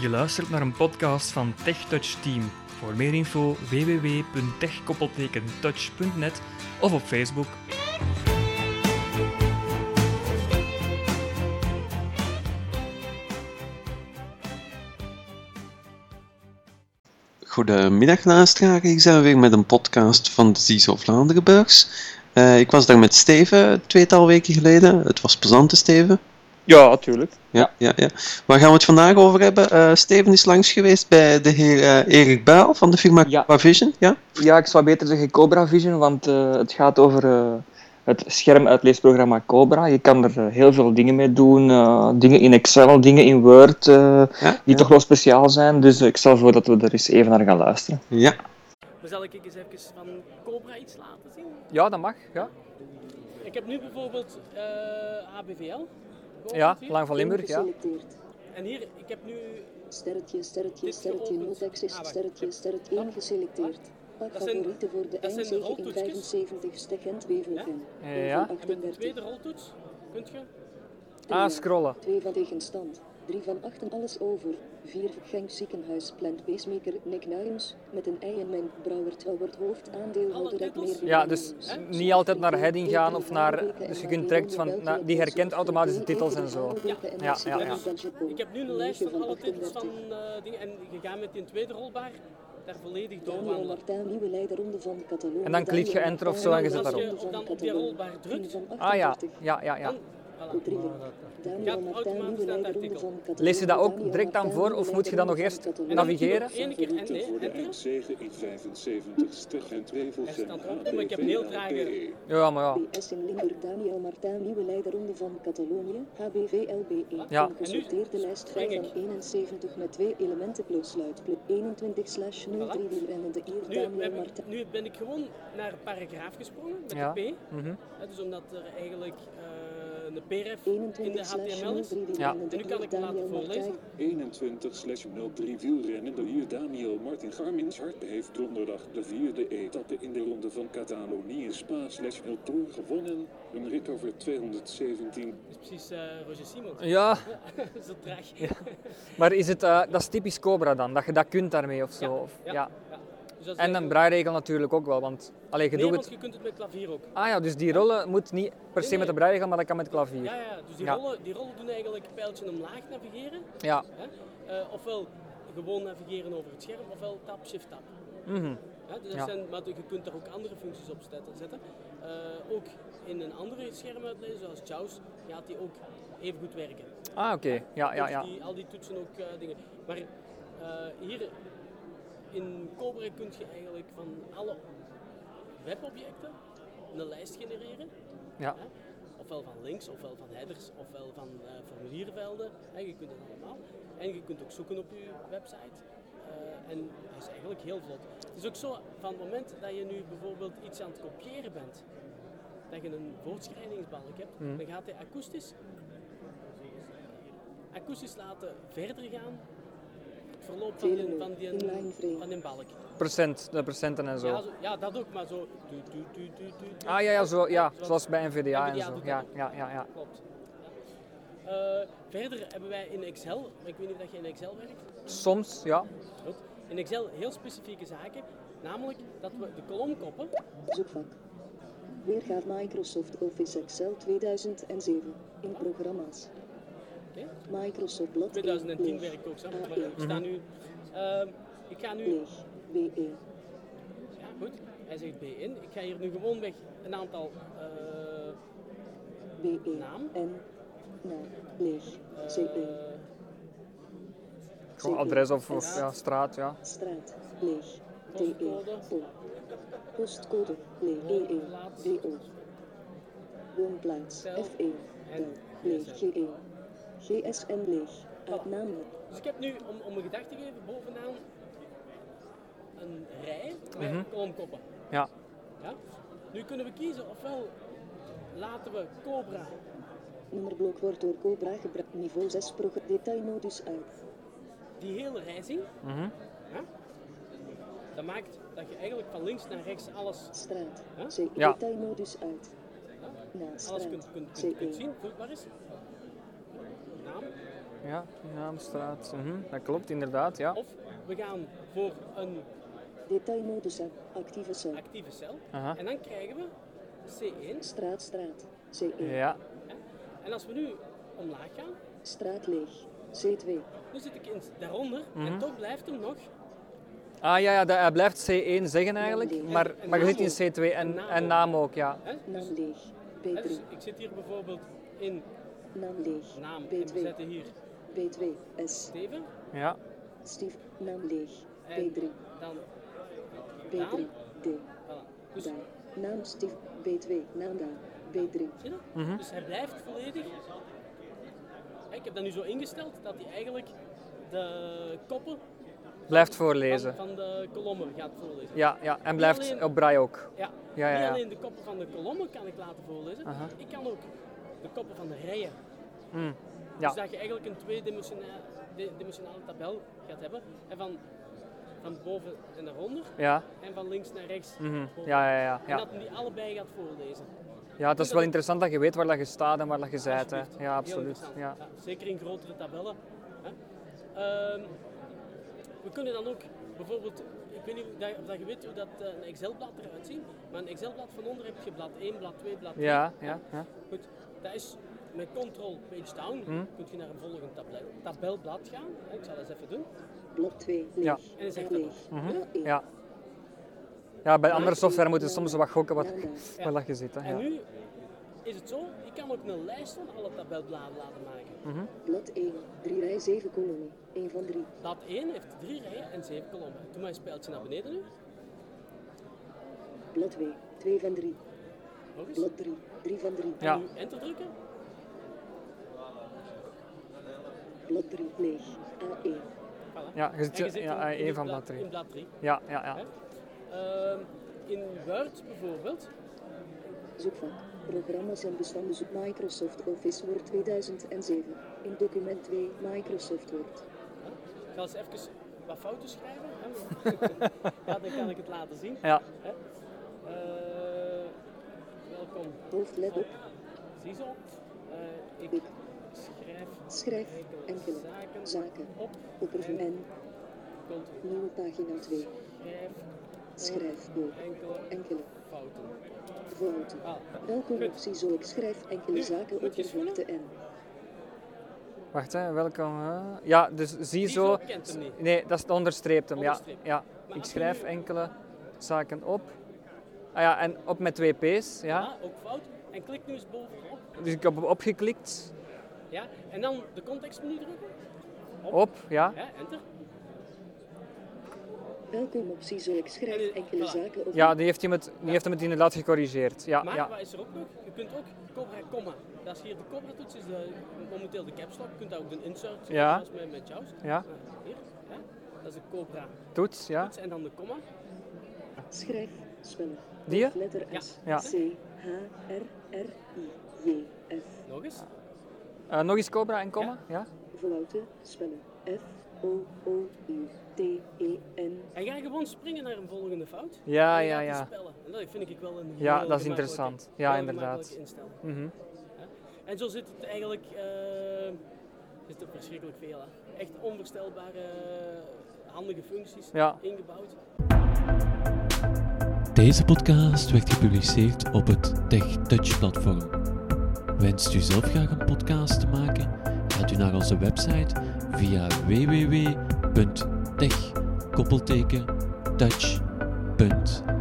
Je luistert naar een podcast van TechTouch Team. Voor meer info www.tech-touch.net of op Facebook. Goedemiddag luisteraar, ik ben weer met een podcast van de CISO Vlaanderenbeurs. Eh, ik was daar met Steven tweetal weken geleden. Het was plezant, hè, Steven. Ja, natuurlijk. Ja, ja, ja. Waar gaan we het vandaag over hebben? Eh, Steven is langs geweest bij de heer eh, Erik Buil van de firma Ja. Cobra Vision. Ja? Ja, ik zou beter zeggen Cobra Vision, want eh, het gaat over eh, het schermuitleesprogramma Cobra. Je kan er eh, heel veel dingen mee doen. eh, dingen in Excel, dingen in Word, eh, Ja, die toch wel speciaal zijn. Dus eh, ik stel voor dat we er eens even naar gaan luisteren. ja. Maar zal ik eens even van Cobra iets laten zien? Ja, dat mag. Ja, Ik heb nu bijvoorbeeld eh ABVL. ja Hier. Lang van Limburg. Ja. Geselecteerd. En hier, ik heb nu, Sterretje, sterretje, Dit sterretje, geopend. multiaccess, Ah, wacht. sterretje, sterretje 1 geselecteerd. Pak Dat zijn- favorieten voor de dat zijn de eindzege in roltoetsjes. 75 Stegent Wevelgem. Eh, Ja. en met de tweede roltoets, kunt je... Ah, scrollen. 2 van tegenstand. 3 van 8 alles over. 4 Genk ziekenhuis plant pacemaker Nick Nuijens. Met een ei en mijn brouwer wordt hoofdaandeelhouder uit meer Ja, dus niet altijd naar heading gaan of naar. Dus je kunt direct van. naar- die herkent automatisch de titels en zo. Ja, ja, ja. Ik heb nu een lijst van alle titels van eh, dingen en je gaat met die tweede rolbaar daar volledig Daniel doorwandelen. Martin, nieuwe leider Ronde van Catalonië. En dan klik je enter of zo en je zit Als daarop. je op, dan op die rolbaar drukt, Ah ja, ja, ja, ja. dan... voilà. Daniel Martin, nieuwe leider Ronde van Catalonië. Lees je dat ook Daniel direct dan Martin, voor, nieuwe of moet je dat nog leider eerst Ronde van navigeren? Catalonië. Eén keer en nee, voor de en terug. eindzege in 75 Stegent Wevelgem staat ook, maar ik heb een heel trage- HBVLPE. Ja, maar ja. PS in Limburg, Daniel Martin, nieuwe leider Ronde van Catalonië, HBVLBE. Ja. E. Een gesorteerde lijst 5 spring van ik. 71 met twee elementen plus sluit plus 21 slash 03 wielrennende eer Nu, Daniel heb ik, Martin. nu ben ik gewoon naar een paragraaf gesprongen met Ja. de P. Mhm. Hè, dus omdat er eigenlijk eh, een PREF in de 21 slash HTML 03 is. En wielrennende nu kan eer ik hem Daniel laten Martin. voorlezen. 21-03 wielrennende hier Daniel Martin Garmins Hart heeft donderdag de vierde etappe in de ronde van Catalonië Spa-El Tour gewonnen. Een rit over 217 Dat is precies eh, Roger Simons. Dus Ja, Zo traag. maar is het, eh, dat is typisch Cobra dan, dat je dat kunt daarmee of zo? Ja, Of, ja. ja. Dus als En je- een braairegel natuurlijk ook wel, want allee, je Nee, doet want het. je kunt het met klavier ook. Ah ja, dus die rollen moet niet per se Nee, met de nee. braairegel, maar dat kan met Ja, klavier. ja. Dus die, Ja. rollen, die rollen doen eigenlijk pijltje omlaag navigeren. Ja, Hè? Eh, ofwel gewoon navigeren over het scherm, ofwel tap, shift, tap. Mhm. Ja, dus dat Ja. zijn, maar je kunt daar ook andere functies op zetten. zetten. Eh, ook in een andere schermuitlezer, zoals JAWS, gaat die ook even goed werken. Ah oké, ja, ja, Dus ja. Die, al die toetsen ook eh, dingen. Maar eh, hier in Cobra kun je eigenlijk van alle webobjecten een lijst genereren. Ja. Hè? Ofwel van links, ofwel van headers, ofwel van eh, formuliervelden. Hè, je kunt het allemaal. En je kunt ook zoeken op je website. Eh, en dat is eigenlijk heel vlot. Het is ook zo, van het moment dat je nu bijvoorbeeld iets aan het kopiëren bent, dat je een woordschrijdingsbalk hebt, Mhm. dan gaat hij akoestisch akoestisch laten verder gaan. Het verloop van die, van die, Inline frame. van die balk. Procent, de procenten en Ja, zo. zo- ja, dat ook, maar zo. tu- tu- tu- tu- tu- tu- Ah ja, ja, zo, ja Zoals- zoals bij NVDA en NVDA zo. doet dat Ja, ook. ja, ja, ja. Klopt. Ja. Eh, verder hebben wij in Excel, maar ik weet niet of dat je in Excel werkt, Soms, ja. goed, in Excel heel specifieke zaken, namelijk dat we de kolomkoppen, Zoekvak. Weergave Microsoft Office Excel 2007 in programma's. oké, Microsoft blad E, 2010 leeg. werkt ook zo, maar A1 ik sta nu, ehm, ik ga nu leeg. E, W1. Ja, goed. Hij zegt B in. Ik ga hier nu gewoon weg een aantal eh, W1. Naam? En naam. E, Leeg. E, eh, C1. Gewoon adres of, of ja, straat, ja. Straat, leeg. Postcode. DE, pol. Postcode, leeg. E, EE, Woonplaats. DO. Woonplaats, Tel. F1, En tel. Leeg, E. GSM. G1. GSM leeg. Uitnaam, dus ik heb nu, om, om een gedachte te geven, bovenaan een rij met kolomkoppen. Ja, Ja? Nu kunnen we kiezen, ofwel laten we Cobra, nummerblok wordt door Cobra gebruikt. Niveau 6 programma, detailmodus uit. die hele rij zien. Ja? Dat maakt dat je eigenlijk van links naar rechts alles, Straat, Huh? C, Ja. detailmodus uit. ja, Na, alles kunt, straat, E. kunt, kunt, C1. kunt zien, vloeibaar is. Naam, Ja, Naamstraat. mhm, Dat klopt, inderdaad, ja. Of we gaan voor een Detailmodus app. Actieve cel. actieve cel. Aha. En dan krijgen we C1. Straat, straat. E. C1. Ja, En als we nu omlaag gaan, Straat leeg. C2. nu zit ik in daaronder. En toch blijft hem nog Ah ja, ja dat, hij blijft C1 zeggen eigenlijk, maar, En- en maar je naam zit in C2 en, ook. en naam ook, ja. Hè? Dus, Naam leeg. hè, dus B3. ik zit hier bijvoorbeeld in Naam leeg. naam en we B2. zetten hier B2. S. Steven. ja. Stief. Naam leeg. En B3. dan B3. D. voilà. Dus, Daan. Naam Stief. B2. Naam Daan. B3. zie je? dus hij blijft volledig. Ik heb dat nu zo ingesteld dat hij eigenlijk de koppen Blijft van, voorlezen. van de kolommen gaat voorlezen. Ja, ja, en blijft alleen- op braai ook. Ja. Ja, ja, Niet ja. alleen de koppen van de kolommen kan ik laten voorlezen. Aha. Ik kan ook de koppen van de rijen. Hm, Ja. Dus dat je eigenlijk een tweedimensionale di- dimensionale tabel gaat hebben. En van, van boven en naar onder. Ja, En van links naar rechts. mhm, boven. ja, ja, ja, En ja. dat die allebei gaat voorlezen. Ja, het is wel interessant dat je weet waar dat je staat en waar dat je bent. Hè. Alsjeblieft. Ja, Heel absoluut. interessant. Ja. zeker in grotere tabellen. Hè? Ehm, we kunnen dan ook bijvoorbeeld, ik weet niet of dat- of dat je weet hoe dat eh, een Excel-blad eruit ziet, maar een Excel-blad van onder heb je blad 1, blad 2, blad 3. Ja, ja, ja. Goed, dat is met control page down, Hm? kun je naar een volgend tabel, tabelblad gaan. hè, Ik zal dat eens even doen. Blok 2. Leeg. Ja. Mhm. En dan zegt dat leeg. nog. Blok één. ja. Ja, bij andere Naam software één. moet je soms wat gokken wat, Naam Daan. waar dat je zit. Hè. En Ja. nu is het zo, ik kan ook een lijst van alle tabelbladen laten maken. Hm. Blad 1. 3 rij 7 kolommen. 1 van 3. Blad 1 heeft 3 rijen en 7 kolommen. Doe maar een speeltje naar beneden nu. Blad 2. 2 van 3. Nog eens. Blad 3. 3 van 3. Ja. Nu enter drukken. Blad 3. Leeg. A1. Voilà. Ja, je zit- En ja, in- ja, in één het van blad- blad drie. In blad 3. Ja, ja, ja. in Word bijvoorbeeld, Zoekvak. Programma's en bestanden zoek Microsoft Office Word 2007. In document 2 Microsoft Word. ik ga eens even wat fouten schrijven. Hè? ja, dan kan ik het laten zien. Ja, Hè? Eh, welkom. Hoofd let op. Ziezo. Eh ik Ik schrijf schrijf enkele enkele zaken zaken. op. Oppervlak en Komt nieuwe pagina 2. schrijf Schrijf door. enkele Enkele fouten. fouten. Ah, Welke Goed. optie zal ik schrijf enkele Nu, zaken moet je eens oppervlakte en wacht hè, welkom. hè. Ja, dus zie Ziezo zo. kent hem niet. Nee, dat is onderstreept hem, ja. Onderstreept. ja. Maar Ik als je schrijf nu- enkele zaken op. Ah ja, en op met twee P's, ja. Ah, ook fout. En klik nu eens bovenop. Dus ik heb opgeklikt. Ja? En dan de contextmenu drukken. Op, ja. Ja, enter. welke optie zal ik schrijf enkele Voilà. zaken op Ja, die heeft hem het, die heeft hem het inderdaad gecorrigeerd. Ja, Maar Ah, ja. wat is er ook nog? Je kunt ook Cobra comma. Dat is hier de Cobra toets, is de, momenteel de caps lock. Je kunt daar ook de insert zetten, Ja. zoals met, met Jaws. Ja. Ah, hier, ja. Dat is de Cobra Toets, ja. toets en dan de comma. schrijf spellen. Die? hè? Letter S. Ja. C. H. R. R. I. J. F. Nog eens. Eh, nog eens Cobra en komma, ja. Fouten spellen. F. O. O. U. T. E. N. En ga gewoon springen naar een volgende fout. Ja, En je ja, gaat die ja. Spellen. En dat vind ik wel een heel Ja, dat is gemakkelijke- interessant. Ja, heel inderdaad. gemakkelijke instelling. Mhm. Ja. En zo zit het eigenlijk... eh zit er verschrikkelijk veel aan. Echt onvoorstelbare eh, handige functies Ja. ingebouwd. Deze podcast werd gepubliceerd op het TechTouch-platform. Wenst u zelf graag een podcast te maken? Gaat u naar onze website via www.tech-touch.nl